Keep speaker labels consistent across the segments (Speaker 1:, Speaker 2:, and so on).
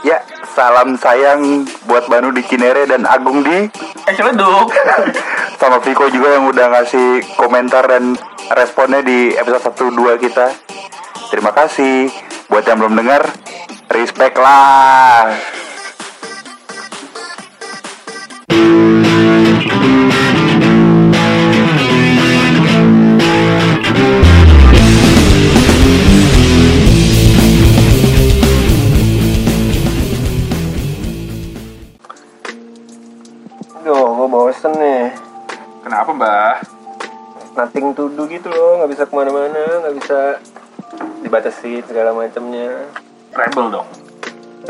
Speaker 1: Ya, salam sayang buat Banu di Cinere dan Agung di
Speaker 2: Eh, celeduk.
Speaker 1: sama Viko juga yang udah ngasih komentar dan responnya di episode 1 2 kita. Terima kasih buat yang belum dengar. Respect lah.
Speaker 3: Aduh, gue bosen nih.
Speaker 2: Kenapa, Mbah?
Speaker 3: Nothing to do gitu loh, nggak bisa kemana-mana, nggak bisa dibatasi segala macamnya.
Speaker 2: Rebel dong.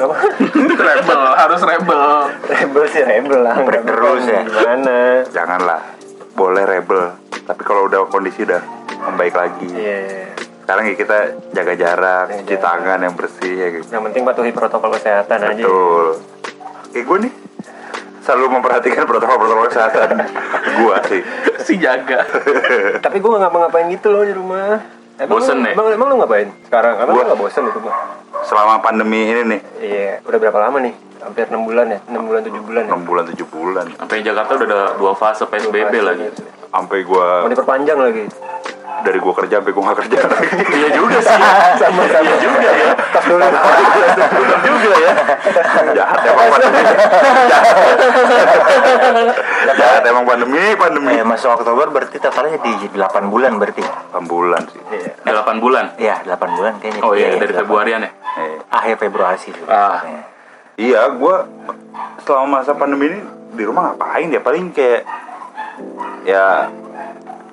Speaker 3: Apa?
Speaker 2: rebel, harus rebel.
Speaker 3: rebel sih rebel lah, nggak
Speaker 1: Terus
Speaker 3: bisa
Speaker 1: ya.
Speaker 3: Gimana?
Speaker 1: Janganlah. Boleh rebel, tapi kalau udah kondisi udah membaik lagi.
Speaker 3: Iya.
Speaker 1: Sekarang ya kita jaga jarak,
Speaker 3: Jaga
Speaker 1: cuci
Speaker 3: jarak.
Speaker 1: tangan yang bersih ya gitu.
Speaker 3: Yang penting patuhi protokol kesehatan aja.
Speaker 1: Betul. Kayak gue nih selalu memperhatikan protokol-protokol kesehatan gue sih.
Speaker 2: si jaga.
Speaker 3: Tapi gue nggak ngapa-ngapain gitu loh di rumah. Emang
Speaker 2: Bosen
Speaker 3: lu-
Speaker 2: ya?
Speaker 3: Emang, emang lu ngapain? Sekarang, emang
Speaker 1: Gua-
Speaker 3: lu nggak bosen di rumah?
Speaker 1: Selama pandemi ini nih,
Speaker 3: Iya. Udah berapa lama nih? Hampir 6 bulan ya? 6 bulan, 7 bulan ya?
Speaker 1: 6 bulan 7 bulan
Speaker 4: Sampai Jakarta udah ada dua fase PSBB lagi.
Speaker 1: sampai gua
Speaker 3: Mau diperpanjang lagi.
Speaker 1: dari gua kerja sampai gua gak kerja lagi.
Speaker 4: Iya juga sih.
Speaker 3: Sama-sama. juga ya. Tas dulu.
Speaker 1: juga ya. Jahat emang pandemi. Jahat. Jahat emang pandemi, pandemi.
Speaker 5: Eh, masuk Oktober berarti totalnya di 8 bulan berarti.
Speaker 1: 6 bulan sih.
Speaker 3: Iya.
Speaker 4: Delapan bulan.
Speaker 5: Iya, 8 bulan kayaknya.
Speaker 4: Oh iya, dari
Speaker 5: 8.
Speaker 4: Februarian ya.
Speaker 1: Eh,
Speaker 5: Akhir Februari sih. lebih
Speaker 4: Ah.
Speaker 5: tepatnya.
Speaker 1: Iya, gua selama masa pandemi ini di rumah ngapain ya? Paling kayak ya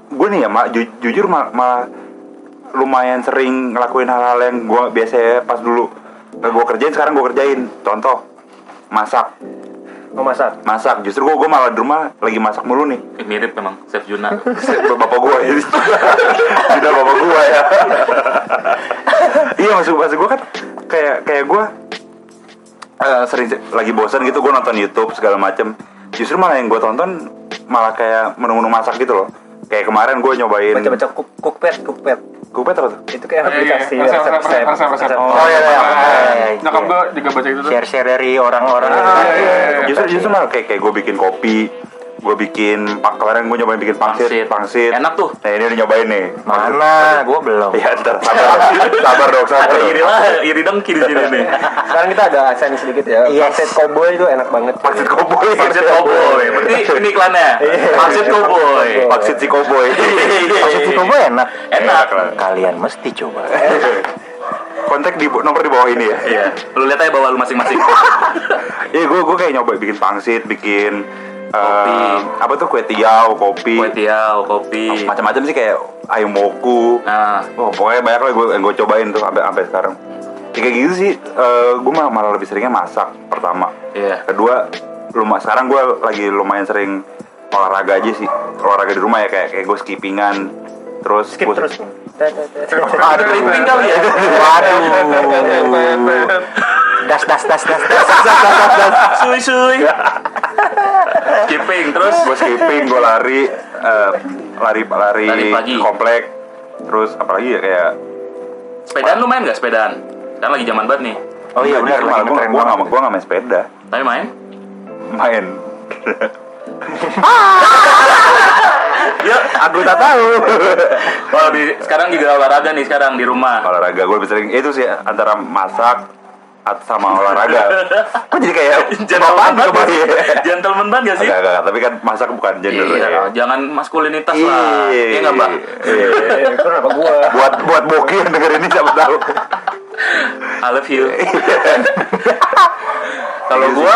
Speaker 1: gue nih ya ma, ju- jujur ma- malah lumayan sering ngelakuin hal-hal yang gua biasanya pas dulu nggak gua kerjain sekarang gua kerjain. Contoh masak,
Speaker 3: Mau masak?
Speaker 1: masak. Justru gua gua malah di rumah lagi masak mulu nih.
Speaker 4: Eh, Mirip memang Chef Juna.
Speaker 1: bapak gua ya sudah bapak gua ya iya maksud maksud gua kan kayak kayak gua eh, sering lagi bosan gitu gua nonton YouTube segala macem justru malah yang gua tonton malah kayak menu-menu masak gitu loh kayak kemarin gua nyobain
Speaker 3: Baca-baca cook, cookpad, cookpad.
Speaker 1: kupet apa tuh
Speaker 3: Itu kayak
Speaker 2: Iya, iya.
Speaker 3: aplikasi
Speaker 2: Resep, resep, resep, resep.
Speaker 3: resep.
Speaker 5: Oh, iya, iya.
Speaker 2: Eh, Nyokap gue juga baca itu tuh.
Speaker 5: Share-share dari orang-orang.
Speaker 2: Ah, iya, iya, iya.
Speaker 1: justru justru malah kayak kayak gua bikin kopi gua bikin pak kemarin gua nyobain bikin pangsit
Speaker 4: Pangsit.
Speaker 1: pangsit
Speaker 4: Enak tuh.
Speaker 1: nah ini udah nyobain nih
Speaker 5: Mana? Gua belum.
Speaker 1: ya
Speaker 4: Iya.
Speaker 1: ntar sabar sabar dong sabar
Speaker 4: Ada
Speaker 1: dong.
Speaker 4: iri lah, iri dengki di sini nih.
Speaker 3: Sekarang kita agak asen sedikit ya.
Speaker 5: Iya.
Speaker 3: Pangsit koboi itu enak banget.
Speaker 1: Pangsit koboi.
Speaker 4: Pangsit Cowboy. Berarti
Speaker 1: Iya.
Speaker 4: ini iklannya. Pangsit Cowboy.
Speaker 1: Pangsit si koboi. iya.
Speaker 5: Maksud itu gua enak.
Speaker 4: Enak.
Speaker 1: lah.
Speaker 5: Kalian mesti coba.
Speaker 1: Kontak di bo- nomor di bawah ini ya.
Speaker 4: Iya. Lu lihat aja bawa lu masing-masing.
Speaker 1: Iya, gue gue kayak nyoba bikin pangsit, bikin
Speaker 4: Kopi.
Speaker 1: eh, apa tuh kue tiaw, kopi,
Speaker 4: Kue tiaw, kopi.
Speaker 1: macam-macam sih kayak ayam moku.
Speaker 4: Nah,
Speaker 1: Wah, Oh, pokoknya banyak lah gue gue cobain tuh sampai sampai sekarang. Ya, kayak gitu sih, gue malah, malah lebih seringnya masak pertama.
Speaker 4: Iya.
Speaker 1: Kedua, lumayan sekarang gue lagi lumayan sering olahraga aja sih, olahraga di rumah ya kayak kayak gue skippingan, terus
Speaker 3: Skip
Speaker 1: gua-
Speaker 3: terus.
Speaker 4: ada keriting kali ya.
Speaker 5: Waduh. Das das das das. das.
Speaker 4: Sui sui. Skipping terus.
Speaker 1: gue skipping gue lari eh, lari lari,
Speaker 4: Lari pagi.
Speaker 1: komplek terus apalagi ya kayak
Speaker 4: Sepedaan lu main gak sepedaan? Kan lagi zaman banget nih.
Speaker 5: Oh iya benar
Speaker 1: gue
Speaker 5: lagi
Speaker 1: gue
Speaker 5: ngetren
Speaker 1: nggak
Speaker 5: banget.
Speaker 1: gue nggak main sepeda
Speaker 4: Tapi main?
Speaker 1: main ya aku tak tahu
Speaker 4: Oh, di, sekarang juga olahraga nih sekarang di rumah.
Speaker 1: olahraga gue lebih sering itu sih antara masak at- sama olahraga kok jadi kayak
Speaker 4: Gentleman
Speaker 1: bapak
Speaker 4: banget.
Speaker 1: kemarin
Speaker 4: Gentleman banget gak sih?
Speaker 1: Enggak, enggak, enggak. tapi kan masak bukan gender
Speaker 4: Iya,
Speaker 1: ya.
Speaker 4: jangan maskulinitas
Speaker 1: Iya.
Speaker 4: lah. Iya enggak, Mbak?
Speaker 1: Iya.
Speaker 3: Kenapa gua?
Speaker 1: Buat buat boki yang denger ini siapa tahu.
Speaker 4: I love you. Kalau gua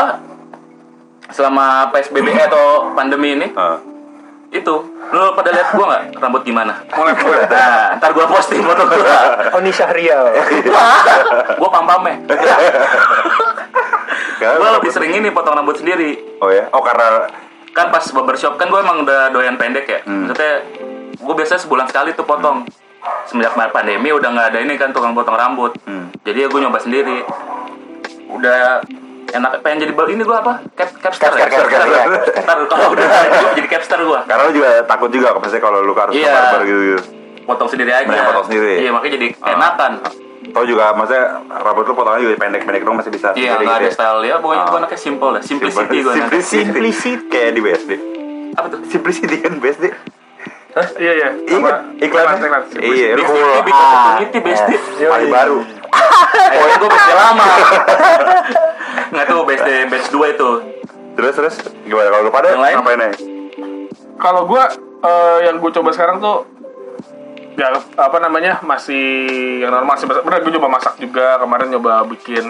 Speaker 4: selama PSBB atau pandemi ini
Speaker 1: Ah.
Speaker 4: itu lu pada lihat gua nggak rambut gimana? Nah, ntar gua posting foto gua.
Speaker 3: Oni Syahrial.
Speaker 4: gua pam-pamnya.
Speaker 1: Karena-
Speaker 4: gua lebih sering ini potong rambut sendiri.
Speaker 1: Oh ya, oh karena
Speaker 4: Kan pas barbershop kan gua emang udah doyan pendek ya.
Speaker 1: Hmm.
Speaker 4: Maksudnya gua biasanya sebulan sekali tuh potong. Semenjak pandemi udah nggak ada ini kan tukang potong rambut.
Speaker 1: Hmm.
Speaker 4: Jadi ya gua nyoba sendiri. Udah enak pengen jadi bal ini gua apa? Cap capster ya.
Speaker 1: Capster, capster,
Speaker 4: Capster.
Speaker 1: capster.
Speaker 4: Ntar kalau udah jadi capster gua.
Speaker 1: Karena lu juga takut juga pasti kalau lu harus
Speaker 4: Iya.
Speaker 1: ke barber gitu.
Speaker 4: potong sendiri aja.
Speaker 1: Mending potong sendiri.
Speaker 4: Iya, makanya jadi
Speaker 1: Ah.
Speaker 4: enakan.
Speaker 1: Tau juga maksudnya rambut lu potongannya juga pendek-pendek dong masih bisa
Speaker 4: Iya,
Speaker 1: sendiri
Speaker 4: nggak
Speaker 1: gitu
Speaker 4: ada
Speaker 1: ya.
Speaker 4: style ya. Pokoknya
Speaker 1: Ah.
Speaker 4: gue anaknya simple lah. Simplicity gue anaknya.
Speaker 1: Simplicity.
Speaker 5: Simplicity.
Speaker 1: Kayak di BSD.
Speaker 4: Apa tuh?
Speaker 1: Simplicity kan BSD.
Speaker 2: Iya iya.
Speaker 1: Iya, iklan
Speaker 2: iklan.
Speaker 1: Iya, lu
Speaker 4: Cool.
Speaker 5: Cool.
Speaker 4: Bikin
Speaker 5: Ah.
Speaker 4: community based deh.
Speaker 1: paling baru.
Speaker 4: iya. Pokoknya gue best lama. Nggak tuh best day batch 2 itu.
Speaker 1: Terus terus gimana kalau lu pada
Speaker 4: Yang lain?
Speaker 1: ngapain aja?
Speaker 2: Kalau gue yang gue coba sekarang tuh ya apa namanya masih yang normal sih. Bener gue coba masak juga kemarin nyoba bikin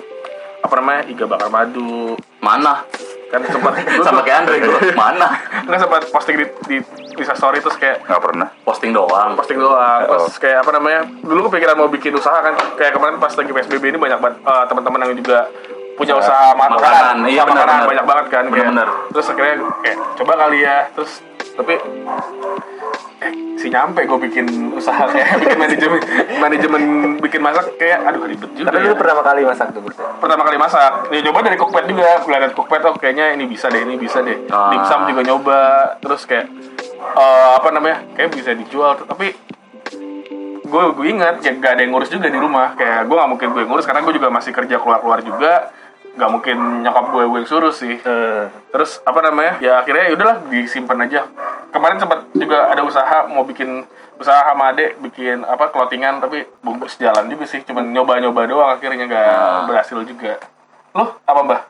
Speaker 2: apa namanya iga bakar madu
Speaker 4: Mana?
Speaker 2: kan sempat gua
Speaker 4: Sama
Speaker 2: tuh-
Speaker 4: kayak Andre gue. Mana?
Speaker 2: nggak sempat posting di di instastory terus kayak
Speaker 1: Nggak pernah.
Speaker 4: Posting doang.
Speaker 2: posting doang
Speaker 1: Oh.
Speaker 2: terus kayak apa namanya dulu kepikiran mau bikin usaha kan kayak kemarin pas lagi psbb ini banyak banget eh, teman-teman yang juga punya usaha makanan,
Speaker 4: makanan. Iya, benar,
Speaker 2: usaha makanan
Speaker 4: benar.
Speaker 2: banyak banget kan kayak.
Speaker 4: Benar-benar.
Speaker 2: terus akhirnya kayak coba kali ya terus tapi eh, si nyampe gue bikin usaha kayak bikin manajemen manajemen bikin masak kayak aduh ribet juga
Speaker 3: Tapi
Speaker 2: ya.
Speaker 3: lu pertama kali masak tuh berarti.
Speaker 2: pertama kali masak ya coba dari cookpad juga kelihatan cookpad oh kayaknya ini bisa deh ini bisa deh
Speaker 4: Ah.
Speaker 2: dimsum juga nyoba terus kayak eh, apa namanya kayak bisa dijual tapi gue gue ingat ya gak ada yang ngurus juga di rumah kayak gue nggak mungkin gue yang ngurus karena gue juga masih kerja keluar keluar juga nggak mungkin nyokap gue gue yang suruh sih
Speaker 3: Eh,
Speaker 2: terus apa namanya ya akhirnya udahlah disimpan aja kemarin sempat juga ada usaha mau bikin usaha sama adek bikin apa clothingan tapi bungkus jalan juga sih cuman nyoba-nyoba doang akhirnya nggak
Speaker 4: Nah.
Speaker 2: berhasil juga loh apa mbah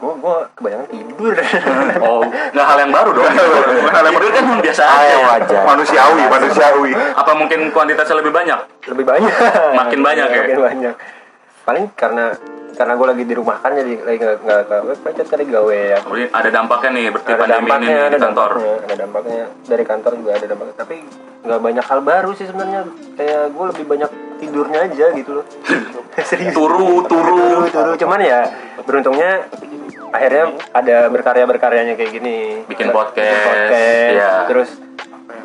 Speaker 3: gua gua kebanyakan tidur.
Speaker 4: Oh, nggak hal yang baru dong. hal yang baru kan biasa aja. Nah,
Speaker 5: Ayo wajar.
Speaker 1: Manusiawi, manusiawi.
Speaker 4: Apa mungkin kuantitasnya lebih banyak?
Speaker 3: Lebih banyak.
Speaker 4: Makin banyak ya?
Speaker 3: Makin banyak. Paling karena karena gua lagi di rumah kan jadi lagi nggak nggak nggak pencet kali gawe ya.
Speaker 4: Kemudian ada dampaknya nih berarti
Speaker 3: ada
Speaker 4: pandemi ini
Speaker 3: dampaknya,
Speaker 4: di
Speaker 3: ada
Speaker 4: kantor.
Speaker 3: dampaknya, ada dampaknya dari kantor juga ada dampaknya. Tapi nggak banyak hal baru sih sebenarnya. Kayak gue lebih banyak tidurnya aja gitu loh. Serius.
Speaker 4: Turu, turu.
Speaker 3: Turu, turu. Cuman ya beruntungnya akhirnya ada berkarya berkaryanya kayak gini.
Speaker 4: Bikin
Speaker 3: Bikin
Speaker 4: podcast,
Speaker 3: podcast,
Speaker 4: iya.
Speaker 3: Terus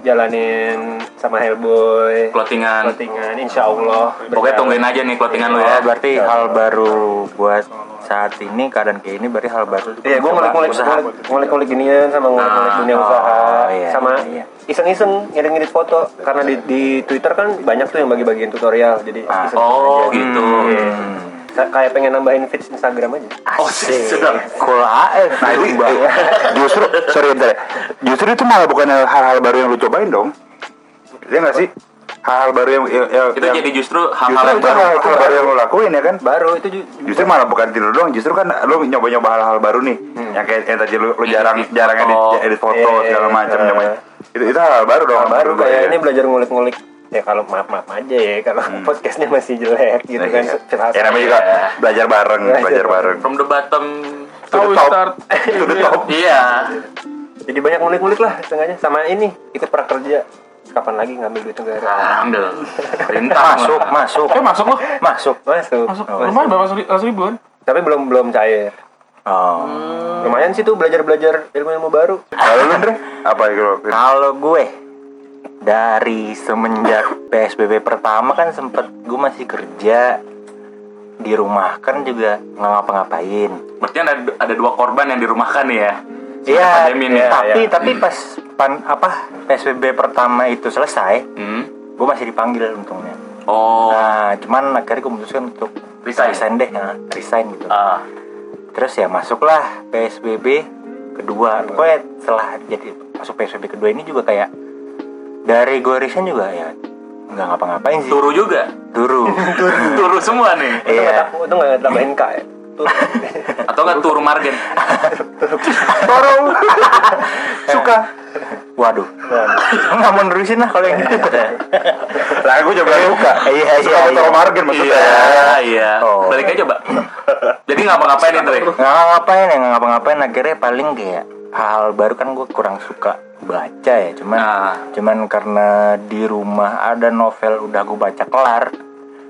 Speaker 3: jalanin sama Hellboy.
Speaker 4: Clothingan.
Speaker 3: Clothingan, insya Allah.
Speaker 4: Pokoknya tungguin aja nih clothingan lu ya.
Speaker 5: Oh, berarti hal baru buat saat ini keadaan kayak ini berarti hal baru.
Speaker 3: Iya, gue ngulik-ngulik
Speaker 5: usaha.
Speaker 3: ngulik-ngulik ginian sama ngulik-ngulik
Speaker 4: Ah,
Speaker 3: dunia
Speaker 5: oh,
Speaker 3: usaha,
Speaker 5: iya,
Speaker 3: sama
Speaker 5: iya.
Speaker 3: iseng-iseng ngirit-ngirit foto karena di, di Twitter kan banyak tuh yang bagi-bagiin tutorial, jadi
Speaker 5: Ah,
Speaker 3: iseng
Speaker 4: Oh gitu.
Speaker 5: Hmm.
Speaker 3: kayak pengen nambahin feeds Instagram aja.
Speaker 4: Oh sedap.
Speaker 5: Cool AF.
Speaker 1: Nah itu eh, justru sorry bentar ya. Justru itu malah bukan hal-hal baru yang lu cobain dong. Ya nggak sih? Hal-hal baru yang, yang, yang
Speaker 4: Itu jadi justru
Speaker 1: justru
Speaker 4: hal-hal yang
Speaker 1: itu
Speaker 4: baru.
Speaker 1: hal, hal baru yang lu lakuin ya kan?
Speaker 3: Baru itu ju-
Speaker 1: Justru malah bukan tidur doang, justru kan lu nyoba-nyoba hal-hal baru nih. Yang kayak yang tadi lu, lu
Speaker 4: Hmm. Edit
Speaker 1: jarang
Speaker 4: foto.
Speaker 1: jarang edit, edit foto
Speaker 3: Iya,
Speaker 1: segala macam
Speaker 3: iya.
Speaker 1: nyobain. Itu itu hal baru dong.
Speaker 3: baru
Speaker 1: menurut gua,
Speaker 3: kayak
Speaker 1: ya.
Speaker 3: ini belajar ngulik-ngulik ya kalau maaf-maaf aja ya kalau
Speaker 5: Hmm.
Speaker 3: podcastnya masih jelek gitu
Speaker 1: Nah,
Speaker 3: kan.
Speaker 1: iya.
Speaker 3: Terasa.
Speaker 1: Ya namanya juga belajar bareng,
Speaker 3: Belajar
Speaker 1: belajar bareng.
Speaker 4: From the bottom.
Speaker 1: To the
Speaker 2: How we
Speaker 1: top.
Speaker 2: start.
Speaker 1: To the top.
Speaker 4: Iya.
Speaker 3: Jadi banyak ngulik-ngulik lah setengahnya sama ini ikut prakerja. Kapan lagi ngambil duit
Speaker 5: Ah.
Speaker 3: negara?
Speaker 4: Nah, Ambil. Perintah
Speaker 5: Masuk, masuk,
Speaker 2: eh masuk loh
Speaker 5: masuk.
Speaker 3: Masuk.
Speaker 2: masuk lumayan berapa seri- seratus ribuan
Speaker 3: Tapi belum belum cair.
Speaker 5: Oh.
Speaker 3: Lumayan sih tuh belajar-belajar ilmu-ilmu baru.
Speaker 1: Kalau lu Andre, apa yang lu lakuin?
Speaker 5: Kalau gue dari semenjak PSBB pertama kan sempet gue masih kerja di rumah kan juga nggak ngapa-ngapain.
Speaker 4: Berarti ada, ada dua korban yang dirumahkan nih ya.
Speaker 5: Iya,
Speaker 4: pandemi nih. ya,
Speaker 5: tapi tapi pas pan apa PSBB pertama itu selesai,
Speaker 4: Hmm.
Speaker 5: gue masih dipanggil untungnya.
Speaker 4: Oh.
Speaker 5: Nah, cuman akhirnya gue memutuskan untuk
Speaker 4: Resign.
Speaker 5: deh, nah, resign gitu.
Speaker 4: Ah.
Speaker 5: Terus ya masuklah PSBB kedua. Pokoknya setelah jadi masuk PSBB kedua ini juga kayak dari gue resign juga ya nggak ngapa-ngapain sih.
Speaker 4: Turu juga.
Speaker 5: Turu.
Speaker 4: Turu semua nih.
Speaker 3: Itu nggak
Speaker 5: Iya.
Speaker 3: tak- Itu nggak tambahin K ya. Tuh.
Speaker 4: Atau nggak turu margen.
Speaker 5: Suka. Waduh. Nggak mau nerusin lah kalau yang gitu.
Speaker 1: Lah gue coba buka.
Speaker 5: Iya,
Speaker 1: Suka
Speaker 5: iya,
Speaker 1: foto
Speaker 5: iya.
Speaker 1: margin maksudnya.
Speaker 4: Iya, iya.
Speaker 5: Oh.
Speaker 4: Balik aja, Mbak. Jadi ngapa-ngapain nih, Dre?
Speaker 5: nggak ngapain ya nggak ngapa-ngapain akhirnya paling kayak hal baru kan gue kurang suka baca ya cuman
Speaker 4: Nah.
Speaker 5: cuman karena di rumah ada novel udah gue baca kelar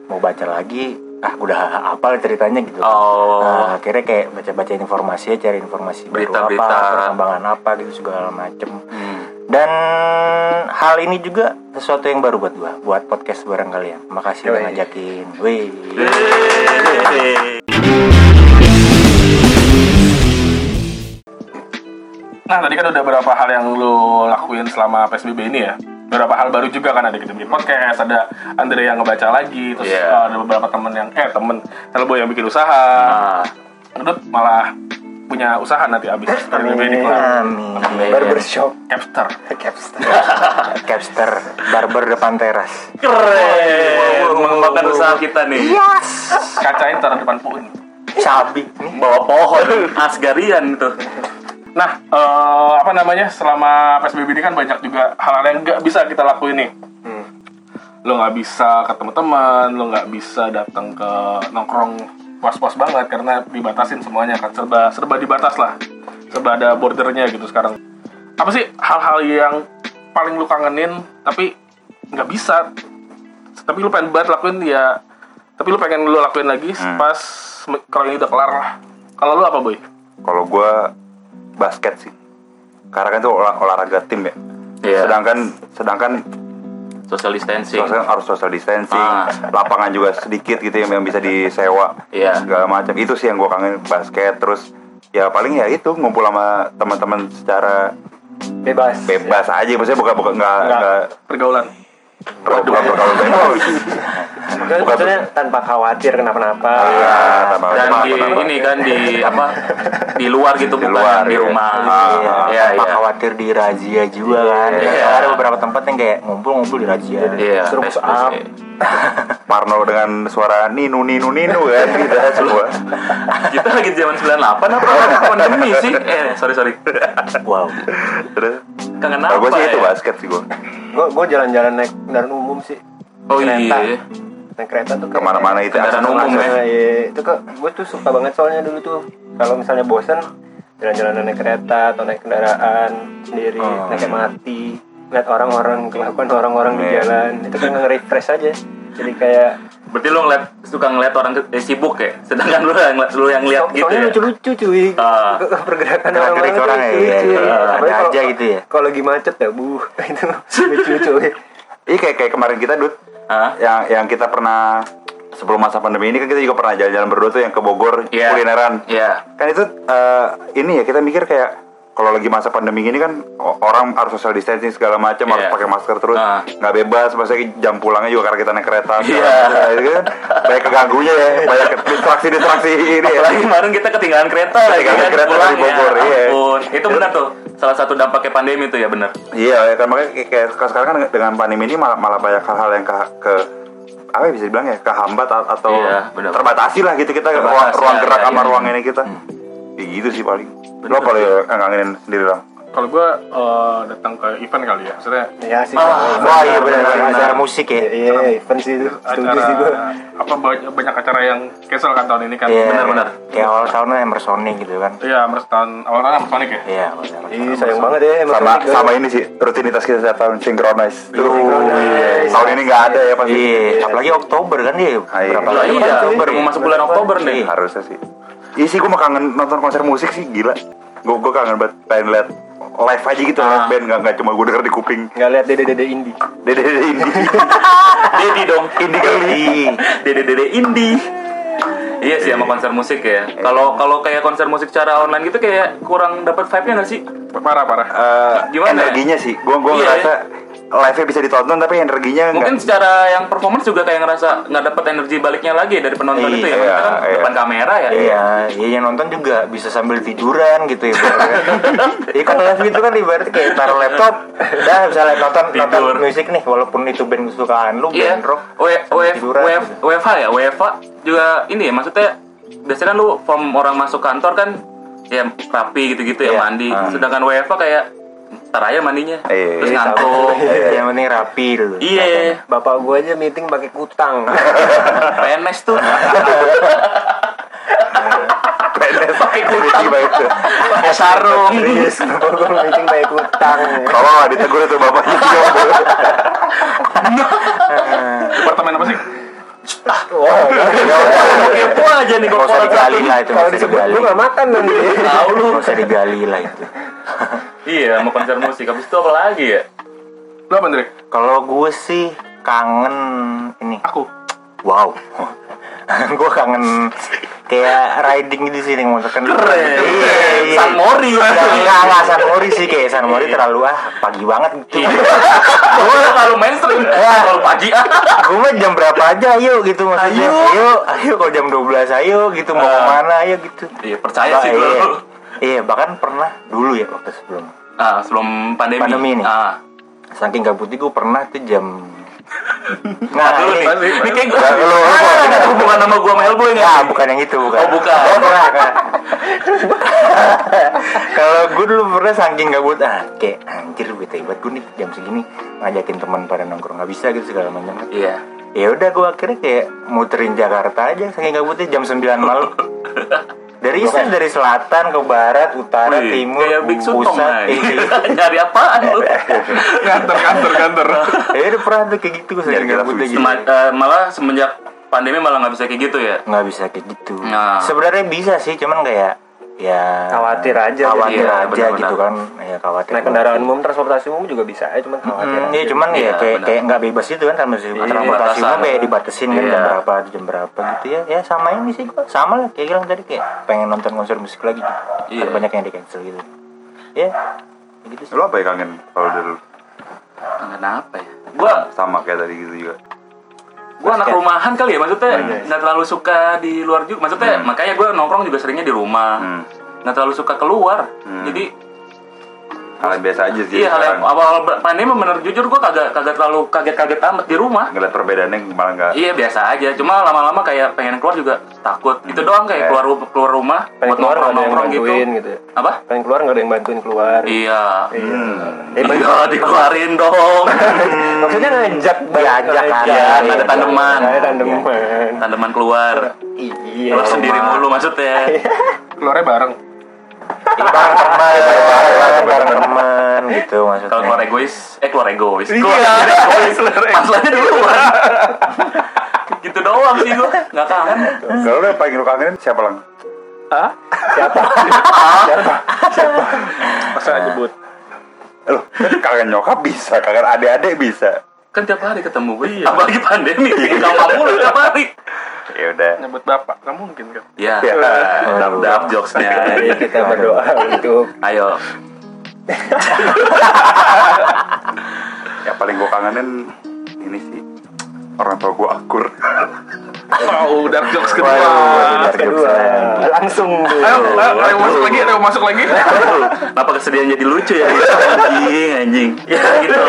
Speaker 5: mau baca lagi ah udah apal ceritanya gitu
Speaker 4: Oh.
Speaker 5: Nah, akhirnya kayak baca-baca informasi ya, cari informasi baru
Speaker 4: Berita-berita. Hmm.
Speaker 5: apa perkembangan apa gitu segala macem dan hal ini juga sesuatu yang baru buat gue buat podcast bareng kalian makasih udah
Speaker 3: Yoi.
Speaker 5: ngajakin wih
Speaker 2: nah tadi kan udah berapa hal yang lu lakuin selama psbb ini ya beberapa hal baru juga kan ada kita bikin podcast ada Andre yang ngebaca lagi terus
Speaker 4: Iya.
Speaker 2: uh, ada beberapa temen yang eh temen Telboy yang bikin usaha
Speaker 4: Ah, Eh,
Speaker 2: Dut malah punya usaha nanti abis dari
Speaker 4: iya.
Speaker 2: ini kelar
Speaker 5: Amin.
Speaker 3: Barbershop
Speaker 2: Capster
Speaker 3: Capster
Speaker 5: Capster, barber depan teras.
Speaker 4: keren Iya. mengembangkan usaha kita nih
Speaker 2: kacain taruh depan puing
Speaker 5: Sabi.
Speaker 4: bawa pohon asgarian itu
Speaker 2: Nah, eh, apa namanya? Selama PSBB ini kan banyak juga hal-hal yang nggak bisa kita lakuin nih. Hmm. Lo nggak bisa ketemu teman, lo nggak bisa datang ke nongkrong pos-pos banget karena dibatasin semuanya kan serba serba dibatas lah, serba ada bordernya gitu sekarang. Apa sih hal-hal yang paling lu kangenin tapi nggak bisa? Tapi lu pengen banget lakuin ya, tapi lu pengen lu lakuin lagi pas kalau ini udah kelar lah. Kalau lu apa boy?
Speaker 1: Kalau gue basket sih. Karena kan itu olah- olahraga tim ya.
Speaker 4: Iya.
Speaker 1: Sedangkan sedangkan
Speaker 4: social distancing
Speaker 1: sosial, harus social distancing,
Speaker 4: Ah.
Speaker 1: lapangan juga sedikit gitu yang yang bisa disewa
Speaker 4: Iya.
Speaker 1: segala macam. Itu sih yang gue kangen basket. Terus ya paling ya itu ngumpul sama teman-teman secara
Speaker 3: Bebas
Speaker 1: bebas aja. Maksudnya bukan bukan nggak nggak
Speaker 2: Nggak, pergaulan.
Speaker 1: bukan bukan
Speaker 3: Maksudnya- Maksudnya tanpa khawatir kenapa-napa
Speaker 1: Ah, iya.
Speaker 4: dan di ini kan di apa di luar gitu bukan
Speaker 1: luar,
Speaker 4: di
Speaker 1: iya.
Speaker 4: rumah
Speaker 1: Iya.
Speaker 4: Iya,
Speaker 5: Tanpa
Speaker 4: iya.
Speaker 5: Ah. khawatir dirazia juga kan.
Speaker 4: Iya.
Speaker 5: Ada beberapa tempat yang kayak ngumpul-ngumpul dirazia.
Speaker 4: iya
Speaker 3: Suruh push
Speaker 4: Facebook
Speaker 3: up.
Speaker 4: sih.
Speaker 1: Parno dengan suara ninu ninu ninu kan kita
Speaker 4: Iya,
Speaker 1: semua.
Speaker 4: kita lagi zaman 98 apa pandemi sih eh sorry sorry
Speaker 5: Wow.
Speaker 1: Terus
Speaker 4: kangen apa
Speaker 1: kalau gue Nah, sih itu
Speaker 4: ya?
Speaker 1: basket sih gue.
Speaker 3: Gue jalan-jalan naik kendaraan umum sih
Speaker 4: oh iya
Speaker 3: Naik kereta tuh kayak-
Speaker 1: Kemana-mana itu
Speaker 4: Kendaraan
Speaker 1: asal
Speaker 4: umum
Speaker 1: masuk.
Speaker 4: ya.
Speaker 3: Nah, iya, itu kok gue tuh suka banget soalnya dulu tuh kalau misalnya bosen jalan-jalan naik kereta atau naik kendaraan sendiri
Speaker 5: Oh.
Speaker 3: naik MRT lihat orang-orang kelakuan orang-orang di
Speaker 1: Iya.
Speaker 3: jalan itu kan nge-refresh aja jadi kayak
Speaker 4: berarti lo ngeliat suka ngeliat orang ke- eh, sibuk ya sedangkan lo yang lo yang lihat
Speaker 3: so-
Speaker 4: gitu
Speaker 3: soalnya
Speaker 4: ya
Speaker 3: lucu-lucu cuy
Speaker 4: Ah.
Speaker 3: pergerakan
Speaker 5: Gerak-gerik
Speaker 3: orang-orang tuh
Speaker 5: orang ya, iya,
Speaker 3: lucu
Speaker 5: iya.
Speaker 3: Apalagi
Speaker 5: Ada
Speaker 3: kalau-
Speaker 5: aja gitu ya.
Speaker 3: kalau lagi macet ya bu itu lucu-lucu cuy.
Speaker 1: Iya kayak kayak kemarin kita dud
Speaker 4: Hah?
Speaker 1: yang yang kita pernah sebelum masa pandemi ini kan kita juga pernah jalan-jalan berdua tuh yang ke Bogor
Speaker 4: Iya.
Speaker 1: kulineran.
Speaker 4: Iya.
Speaker 1: Kan itu eh, ini ya kita mikir kayak kalau lagi masa pandemi ini kan o- orang harus social distancing segala macam harus
Speaker 4: Iya.
Speaker 1: pakai masker terus
Speaker 4: Ah.
Speaker 1: nggak bebas maksudnya jam pulangnya juga karena kita naik kereta
Speaker 4: Iya.
Speaker 1: segala macam, gitu kan. banyak keganggunya ya banyak distraksi distraksi ini ya
Speaker 4: Apalagi kemarin kita ketinggalan kereta lagi
Speaker 1: Ketinggalan
Speaker 4: kan
Speaker 1: kereta
Speaker 4: pulang
Speaker 1: dari Bogor,
Speaker 4: ya.
Speaker 1: iya.
Speaker 4: Ampun. Itu benar tuh. Salah satu dampaknya pandemi tuh ya benar.
Speaker 1: Iya, ya kan makanya kayak- kayak sekarang sekarang kan dengan pandemi ini malah, malah banyak hal-hal yang ke, ke apa ya bisa dibilang ya kehambat a- atau
Speaker 4: Iya, benar.
Speaker 1: terbatasi lah gitu kita ruang,
Speaker 4: Terbatas, ya,
Speaker 1: ruang gerak
Speaker 4: iya,
Speaker 1: sama
Speaker 4: iya.
Speaker 1: ruang ini kita. Ya gitu sih paling. Lo kalau ya, kangenin sendiri lah.
Speaker 2: Kalau gue datang ke event kali ya, maksudnya
Speaker 3: ya sih
Speaker 5: Wah iya benar acara musik
Speaker 3: Iya,
Speaker 5: ya.
Speaker 3: iya event sih itu setuju
Speaker 2: acara
Speaker 3: sih gue
Speaker 2: apa banyak, banyak acara yang cancel kan tahun ini kan.
Speaker 5: Iya.
Speaker 4: Benar-benar.
Speaker 5: Kayak awal tahunnya Emersonic gitu kan.
Speaker 2: Iya, Mars tahun awal tahun Mars Sonic ya.
Speaker 5: Iya, benar.
Speaker 3: Ih, sayang banget ya
Speaker 4: Iya,
Speaker 3: emang
Speaker 1: Sama
Speaker 3: Sonic,
Speaker 1: sama
Speaker 3: guys.
Speaker 1: ini sih rutinitas kita setiap tahun synchronize. Tuh,
Speaker 3: Synchronize.
Speaker 1: tahun ini nggak ada ya pasti.
Speaker 5: Iya, apalagi Oktober kan dia. Berapa
Speaker 4: Lah
Speaker 5: lagi?
Speaker 4: iya,
Speaker 5: Oktober.
Speaker 4: baru
Speaker 5: ya?
Speaker 4: mau masuk bulan Oktober nih.
Speaker 1: Iya, Harusnya sih. Iya sih gue mau kangen nonton konser musik sih gila. Gue gue kangen banget pengen lihat live aja gitu
Speaker 4: Ah.
Speaker 1: live band nggak nggak cuma gue denger di kuping.
Speaker 3: nggak lihat dede-dede indie
Speaker 1: Dede ini.
Speaker 4: Dedi dong.
Speaker 1: Indie kali.
Speaker 4: Dede-dede indie. Iya sih sama konser musik ya. Kalau kalau kayak konser musik cara online gitu kayak kurang dapat vibe-nya nggak sih?
Speaker 2: Parah parah.
Speaker 1: Eh,
Speaker 4: Gimana
Speaker 1: energinya sih gua gua
Speaker 4: Iya,
Speaker 1: ngerasa live-nya bisa ditonton tapi energinya
Speaker 4: Mungkin
Speaker 1: enggak
Speaker 4: secara yang performance juga kayak ngerasa nggak dapat energi baliknya lagi dari penonton itu ya.
Speaker 1: Iya,
Speaker 4: Kita kan
Speaker 1: iya.
Speaker 4: depan kamera ya.
Speaker 5: Iya, iya yang nonton juga bisa sambil tiduran gitu ya. Iya kan live gitu kan ibarat kayak taruh laptop, dah misalnya nonton nonton
Speaker 4: Tidur.
Speaker 5: musik nih, walaupun itu band kesukaan lu,
Speaker 4: Iya.
Speaker 5: band rock,
Speaker 4: W- W-
Speaker 5: tiduran.
Speaker 4: W- WFH ya, WFH juga ini ya, maksudnya biasanya kan lu form orang masuk kantor kan ya rapi gitu-gitu ya
Speaker 5: Iya.
Speaker 4: mandi. Sedangkan WFH kayak ntar aja mandinya.
Speaker 1: Iya,
Speaker 4: Terus
Speaker 1: iya,
Speaker 4: ngantuk.
Speaker 5: yang penting rapi gitu. dulu.
Speaker 4: Oh. Iya.
Speaker 3: Bapak gua aja meeting pakai kutang.
Speaker 4: PNS tuh
Speaker 1: pendek pakai kuping gitu.
Speaker 4: pakai sarung.
Speaker 3: Serius, bapak gua meeting pakai kutang.
Speaker 1: Tolong lah ditegur itu bapaknya juga.
Speaker 2: Departemen apa sih?
Speaker 4: Kepo aja nih
Speaker 5: Gak usah
Speaker 4: korporat
Speaker 5: digali lah itu,
Speaker 3: Kalau
Speaker 5: gak usah
Speaker 3: disebut
Speaker 4: iya.
Speaker 5: digali.
Speaker 3: lu gak makan nanti.
Speaker 4: Tahu lu.
Speaker 5: Gak usah digali lah itu.
Speaker 4: Iya, mau konser musik. Habis itu apa lagi ya?
Speaker 2: Lo apa Andre?
Speaker 5: Kalau gue sih kangen ini,
Speaker 2: Aku.
Speaker 5: wow. gue kangen kayak riding di sini motor kan
Speaker 4: Keren.
Speaker 5: Iya, iya.
Speaker 4: San Mori.
Speaker 5: Nggak,
Speaker 4: Iya,
Speaker 5: nggak, nggak, San Mori sih kayak San Mori terlalu ah pagi banget gitu
Speaker 4: Iya. Gue terlalu mainstream,
Speaker 5: Wah.
Speaker 4: terlalu pagi ah.
Speaker 5: gue mah jam berapa aja ayo gitu maksudnya
Speaker 4: Ayo.
Speaker 5: ayo ayo kalau jam 12 ayo gitu mau kemana ayo gitu
Speaker 4: Iya percaya
Speaker 5: Bah-
Speaker 4: sih
Speaker 5: iya.
Speaker 4: dulu.
Speaker 5: iya bahkan pernah dulu ya waktu sebelum
Speaker 4: Ah sebelum pandemi.
Speaker 5: Pandemi nih.
Speaker 4: Ah.
Speaker 5: saking gabutnya gue pernah tuh jam nah
Speaker 4: Dulu kan? nih,
Speaker 5: ini
Speaker 4: ini kayak gue.
Speaker 5: Nah, lu- lu-
Speaker 4: Ada hubungan sama gue sama Hellboy nih.
Speaker 5: Nah, bukan yang itu, bukan.
Speaker 4: Oh, bukan.
Speaker 5: Gua pernah, pernah. Kalau gue dulu pernah saking gabut, ah, kayak anjir bete banget gue nih jam segini ngajakin teman pada nongkrong nggak bisa gitu segala macam.
Speaker 4: Iya.
Speaker 5: Ya udah gue akhirnya kayak muterin Jakarta aja saking gabutnya jam 9 malam. Dari istri dari selatan ke barat, utara,
Speaker 4: Wih,
Speaker 5: timur,
Speaker 4: kayak Big Sutong
Speaker 5: pusat,
Speaker 4: nah.
Speaker 5: iya.
Speaker 4: Nyari apaan lu?
Speaker 2: Nganter, nganter, nganter.
Speaker 5: Ya udah pernah tuh kayak gitu gue saking gabutnya gitu.
Speaker 4: Sema- eh, malah semenjak pandemi malah nggak bisa kayak gitu ya.
Speaker 5: nggak bisa kayak gitu
Speaker 4: Nah.
Speaker 5: sebenarnya bisa sih cuman kayak ya
Speaker 3: Khawatir aja.
Speaker 5: khawatir
Speaker 4: Iya,
Speaker 5: aja
Speaker 4: benar-benar.
Speaker 5: gitu kan ya khawatir
Speaker 3: naik kendaraan umum transportasi umum juga bisa ya cuman khawatir
Speaker 5: Hmm,
Speaker 3: aja.
Speaker 5: ya cuman
Speaker 4: Iya,
Speaker 5: ya kayak
Speaker 4: benar.
Speaker 5: kayak nggak bebas gitu kan transportasi transportasi umum
Speaker 4: batasan.
Speaker 5: kayak dibatasin kan jam
Speaker 4: Iya.
Speaker 5: berapa jam berapa gitu ya ya sama ini sih gua sama lah kayak bilang tadi kayak pengen nonton konser musik lagi gitu.
Speaker 4: Iya.
Speaker 5: Kan banyak yang di cancel gitu ya gitu sih
Speaker 1: Lu apa ya kangen kalau dari lu?
Speaker 4: Kenapa ya? Gua
Speaker 1: Sama kayak tadi gitu juga.
Speaker 4: gue anak
Speaker 3: Iya.
Speaker 5: Basket.
Speaker 4: rumahan kali ya maksudnya nggak terlalu suka di luar juga
Speaker 3: Hmm.
Speaker 4: maksudnya makanya gue nongkrong juga seringnya di rumah
Speaker 1: Hmm.
Speaker 4: nggak terlalu suka keluar
Speaker 3: Hmm.
Speaker 4: jadi
Speaker 1: Hal yang biasa aja sih.
Speaker 4: iya hal yang
Speaker 1: sekarang.
Speaker 4: awal pandemi bener jujur gue kagak kagak terlalu kaget-kaget amat di rumah
Speaker 1: Ngeliat perbedaannya malah nggak.
Speaker 4: iya biasa aja cuma lama-lama kayak pengen keluar juga takut itu doang
Speaker 1: Kayak-
Speaker 4: kayak keluar ru- keluar rumah
Speaker 3: Hmm. pengen
Speaker 4: buat
Speaker 3: keluar nggak ada yang
Speaker 4: nongkrong-nongkrong gitu
Speaker 3: bantuin gitu ya
Speaker 4: apa
Speaker 3: pengen keluar nggak ada yang bantuin keluar
Speaker 4: iya
Speaker 3: Iya. Eh,
Speaker 4: iya dikeluarin dong
Speaker 3: maksudnya ngajak
Speaker 5: Diajak aja,
Speaker 4: Iya,
Speaker 5: iya,
Speaker 4: ada tandeman
Speaker 3: ada tandeman
Speaker 4: tandeman keluar
Speaker 3: iya
Speaker 4: keluar sendiri
Speaker 5: rumah.
Speaker 4: mulu maksudnya
Speaker 2: Keluarnya bareng.
Speaker 5: bareng teman bareng teman gitu maksudnya
Speaker 4: Kalau keluar egois, eh keluar egois.
Speaker 2: Iya.
Speaker 4: Keluar egois. Pasalnya dulu gitu doang sih gua. Nggak kangen.
Speaker 1: Kalau lu yang paling lu kangenin siapa lang?
Speaker 3: Iya,
Speaker 2: Masa nyebut.
Speaker 1: Lu kan kangen nyokap bisa, kangen adik-adik bisa.
Speaker 4: Kan tiap hari ketemu gue. Apalagi pandemi, bikin kamar mulu tiap hari.
Speaker 1: Ya udah.
Speaker 2: Nyebut bapak. Nggak mungkin kan.
Speaker 4: Ya,
Speaker 1: Ya.
Speaker 4: dap dap jokesnya. Iya.
Speaker 3: kita berdoa untuk
Speaker 4: Ayo.
Speaker 1: Yang paling gue kangenin ini sih orang tua gue akur.
Speaker 2: Wow, dark jokes kedua.
Speaker 5: Waduh, dark jokes
Speaker 3: kedua
Speaker 5: lagi.
Speaker 4: Iya.
Speaker 3: langsung tuh.
Speaker 2: Ayo, ayo, ada yang masuk lagi, ada yang masuk lagi.
Speaker 4: Kenapa kesedihan jadi lucu ya? Anjing, anjing. Ya gitu.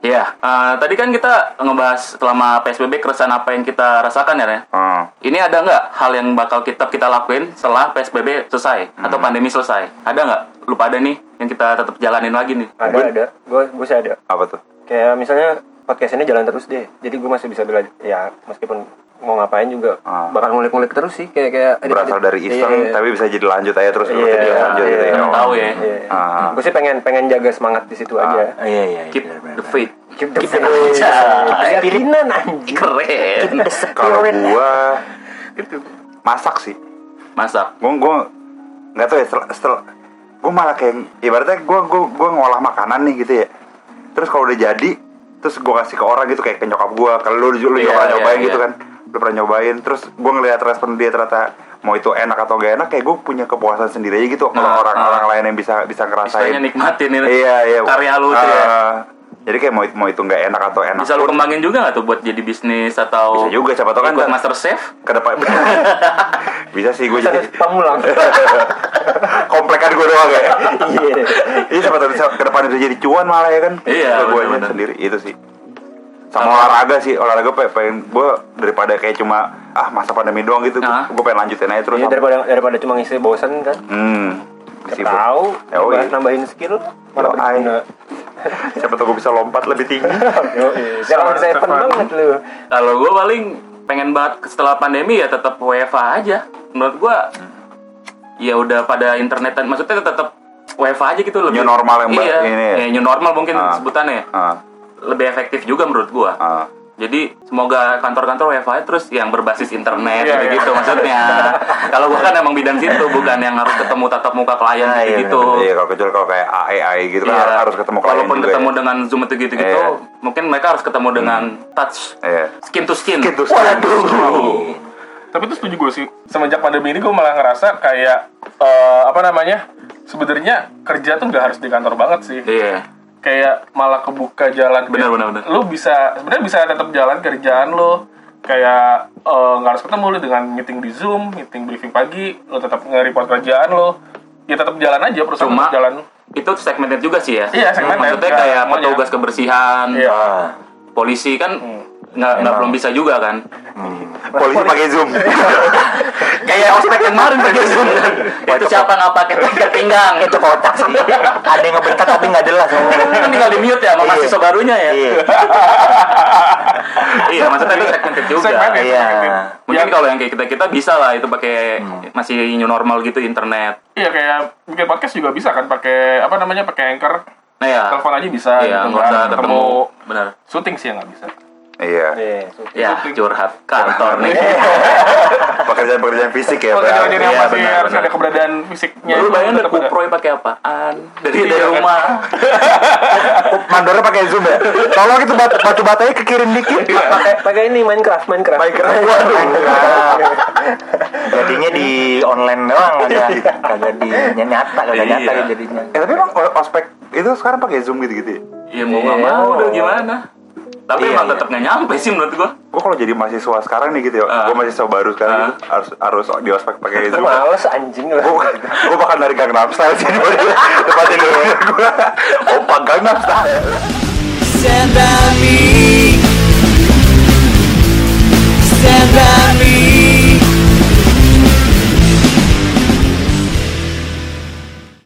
Speaker 4: Ya, eh, tadi kan kita ngebahas selama PSBB keresahan apa yang kita rasakan ya, Ren?
Speaker 1: Hmm.
Speaker 4: Ini ada nggak hal yang bakal kita kita lakuin setelah PSBB selesai atau
Speaker 1: Hmm.
Speaker 4: pandemi selesai? Ada nggak? Lupa ada nih yang kita tetap jalanin lagi nih.
Speaker 3: ada ada gue gue sih ada
Speaker 1: Apa tuh?
Speaker 3: kayak misalnya podcast ini jalan terus deh jadi gue masih bisa belajar ya meskipun mau ngapain juga
Speaker 1: Ah.
Speaker 3: bakal ngulik-ngulik terus sih kayak kayak edit-edit.
Speaker 1: Berasal dari
Speaker 3: Iya,
Speaker 1: iseng
Speaker 3: iya.
Speaker 1: tapi bisa jadi lanjut aja terus terus
Speaker 3: Iya,
Speaker 1: jadi lanjut
Speaker 3: iya,
Speaker 1: gitu ya.
Speaker 3: iya.
Speaker 1: Oh.
Speaker 4: Tahu ya.
Speaker 3: Iya.
Speaker 1: Ah.
Speaker 3: gue sih pengen pengen jaga semangat di situ aja
Speaker 5: Oh, iya iya
Speaker 4: Keep
Speaker 5: iya, benar,
Speaker 4: the
Speaker 5: benar.
Speaker 4: faith.
Speaker 3: keep the
Speaker 4: Kita
Speaker 3: faith.
Speaker 4: aja.
Speaker 3: Keep spirinan anjing
Speaker 4: Keren.
Speaker 3: Iya,
Speaker 1: Kalau gue
Speaker 3: Gitu.
Speaker 1: masak sih.
Speaker 4: Masak.
Speaker 1: Gue gue nggak tahu ya setelah, setelah gue malah kayak ibaratnya gue gue gue ngolah makanan nih gitu ya. Terus kalau udah jadi terus gue kasih ke orang gitu kayak ke nyokap gue kalau lu lu
Speaker 4: Iya,
Speaker 1: juga pernah
Speaker 4: iya,
Speaker 1: nyobain
Speaker 4: iya.
Speaker 1: gitu kan lu pernah nyobain terus gue ngeliat respon dia ternyata mau itu enak atau gak enak kayak gue punya kepuasan sendiri aja gitu kalau
Speaker 4: Nah,
Speaker 1: orang-orang
Speaker 4: ah.
Speaker 1: lain yang bisa bisa ngerasain
Speaker 4: Istilahnya nikmatin ini.
Speaker 1: iya iya
Speaker 4: Karya lu tuh ya.
Speaker 1: Ah, jadi kayak mau mau itu nggak enak atau enak
Speaker 4: Bisa lu
Speaker 1: pun,
Speaker 4: kembangin juga nggak tuh buat jadi bisnis atau
Speaker 1: Bisa juga, siapa tahu kan
Speaker 4: ikut
Speaker 1: ntar-
Speaker 4: master chef?
Speaker 1: ke depan bisa sih gue jadi
Speaker 3: Terus pamulang
Speaker 1: komplekan gue doang ya
Speaker 3: iya
Speaker 1: iya siapa tahu bisa ke depan bisa jadi cuan malah ya kan
Speaker 4: Iya,
Speaker 1: gue
Speaker 4: bener-bener.
Speaker 1: sendiri itu sih sama olahraga sih olahraga pe- pengen gue daripada kayak cuma ah masa pandemi doang gitu
Speaker 4: Nah.
Speaker 1: gue pengen lanjutin aja terus
Speaker 3: Iya, daripada daripada cuma ngisi bosan kan
Speaker 1: hmm sibuk.
Speaker 3: tahu
Speaker 1: Ya, oh, iya.
Speaker 3: nambahin skill
Speaker 1: Yo,
Speaker 3: malah berguna
Speaker 1: siapa tahu gue bisa lompat lebih tinggi
Speaker 3: yo iya. jangan saya
Speaker 2: Stefan.
Speaker 3: banget lu
Speaker 4: Kalau gue paling pengen banget setelah pandemi ya tetap WFA aja. Menurut gue ya udah pada internetan maksudnya tetap WFA aja gitu
Speaker 1: New
Speaker 4: lebih
Speaker 1: normal yang ba-
Speaker 4: iya,
Speaker 1: ini ya?
Speaker 4: ya, new normal mungkin
Speaker 1: Ah.
Speaker 4: sebutannya ya.
Speaker 1: ah,
Speaker 4: lebih efektif juga menurut gua
Speaker 1: ah.
Speaker 4: Jadi semoga kantor-kantor WFH terus yang berbasis internet
Speaker 2: Iya, iya.
Speaker 4: gitu maksudnya. Kalau gua kan emang bidang situ bukan yang harus ketemu tatap muka klien
Speaker 5: Ah, iya,
Speaker 4: gitu.
Speaker 1: Iya kalau kecuali kalau kayak AE AE gitu kan
Speaker 4: Iya.
Speaker 1: har- harus ketemu klien
Speaker 4: Walaupun
Speaker 1: juga
Speaker 4: ketemu
Speaker 1: ya.
Speaker 4: dengan Zoom itu gitu-gitu,
Speaker 1: Iya.
Speaker 4: mungkin mereka harus ketemu dengan touch
Speaker 1: Iya.
Speaker 4: skin to skin.
Speaker 1: Skin to skin.
Speaker 4: Waduh.
Speaker 2: tapi itu setuju gue sih semenjak pandemi ini gue malah ngerasa kayak eh, apa namanya sebenarnya kerja tuh nggak harus di kantor banget sih
Speaker 4: Iya.
Speaker 2: kayak malah kebuka jalan
Speaker 4: Benar, benar, benar.
Speaker 2: lu bisa sebenarnya bisa tetap jalan kerjaan lu kayak eh, nggak harus ketemu lu dengan meeting di zoom meeting briefing pagi lu tetap nge-report kerjaan lu ya tetap jalan aja perusahaan
Speaker 4: Cuma-
Speaker 2: tetap jalan
Speaker 4: Itu segmented juga sih ya.
Speaker 2: Iya, segmented.
Speaker 4: Maksudnya
Speaker 2: Nggak
Speaker 4: kayak
Speaker 2: semuanya.
Speaker 4: petugas kebersihan,
Speaker 2: Iya.
Speaker 5: Ah,
Speaker 4: polisi kan nggak nggak belum bisa juga kan.
Speaker 1: Polisi pakai zoom.
Speaker 4: Kayak ospek yang kemarin pakai zoom kan. Itu siapa nggak pakai tenggang pinggang itu
Speaker 5: kotak sih. Iya. Ada yang ngebentak tapi nggak jelas.
Speaker 4: kan tinggal di mute ya sama
Speaker 5: Iya.
Speaker 4: mahasiswa barunya ya
Speaker 5: Iya.
Speaker 4: iya maksudnya itu segmented juga
Speaker 2: Segmented.
Speaker 5: Iya.
Speaker 4: mungkin
Speaker 2: Yang-
Speaker 4: kalau yang kayak kita kita bisa lah itu pakai
Speaker 5: Hmm.
Speaker 4: masih new normal gitu internet
Speaker 2: iya kayak bikin podcast juga bisa kan pakai apa namanya pakai anchor
Speaker 4: nah ya
Speaker 2: telepon aja gitu bisa kan.
Speaker 4: iya nggak usah ketemu benar
Speaker 2: syuting sih yang nggak bisa
Speaker 1: Iya.
Speaker 3: Iya.
Speaker 4: ya curhat kantor nih
Speaker 2: Iya,
Speaker 1: Pekerjaan-pekerjaan fisik ya.
Speaker 2: Oh,
Speaker 1: berarti.
Speaker 2: jadi yang
Speaker 4: Iya,
Speaker 2: masih
Speaker 4: benar,
Speaker 2: harus
Speaker 4: benar.
Speaker 2: ada keberadaan fisiknya.
Speaker 4: lu
Speaker 2: itu
Speaker 4: bayangin udah
Speaker 2: tetap ada.
Speaker 4: kuproy pakai apaan dari
Speaker 2: Iya,
Speaker 4: dari
Speaker 2: kan?
Speaker 4: rumah
Speaker 1: Mandornya pakai zoom ya. Tolong itu batu, batu batanya kekirim dikit.
Speaker 3: Pakai pakai ini Minecraft, Minecraft.
Speaker 1: Keren waduh.
Speaker 5: Jadinya di online doang kagak kagak di nyata kagak
Speaker 4: Iya.
Speaker 5: nyata jadinya.
Speaker 1: Eh tapi emang o- ospek itu sekarang pakai zoom gitu-gitu. ya?
Speaker 4: ya mau nggak mau udah gimana tapi
Speaker 5: Iya,
Speaker 4: emang
Speaker 5: iya.
Speaker 4: tetap nggak nyampe sih menurut gua
Speaker 1: Gue kalau jadi mahasiswa sekarang nih gitu ya,
Speaker 4: Ah.
Speaker 1: gue mahasiswa baru sekarang
Speaker 4: Ah.
Speaker 1: gitu, harus harus di ospek pakai zoom.
Speaker 3: Males anjing lah.
Speaker 1: gue gue bakal dari Gangnam Style sih daripada daripada gue opa Gangnam Oh, Style
Speaker 6: said about me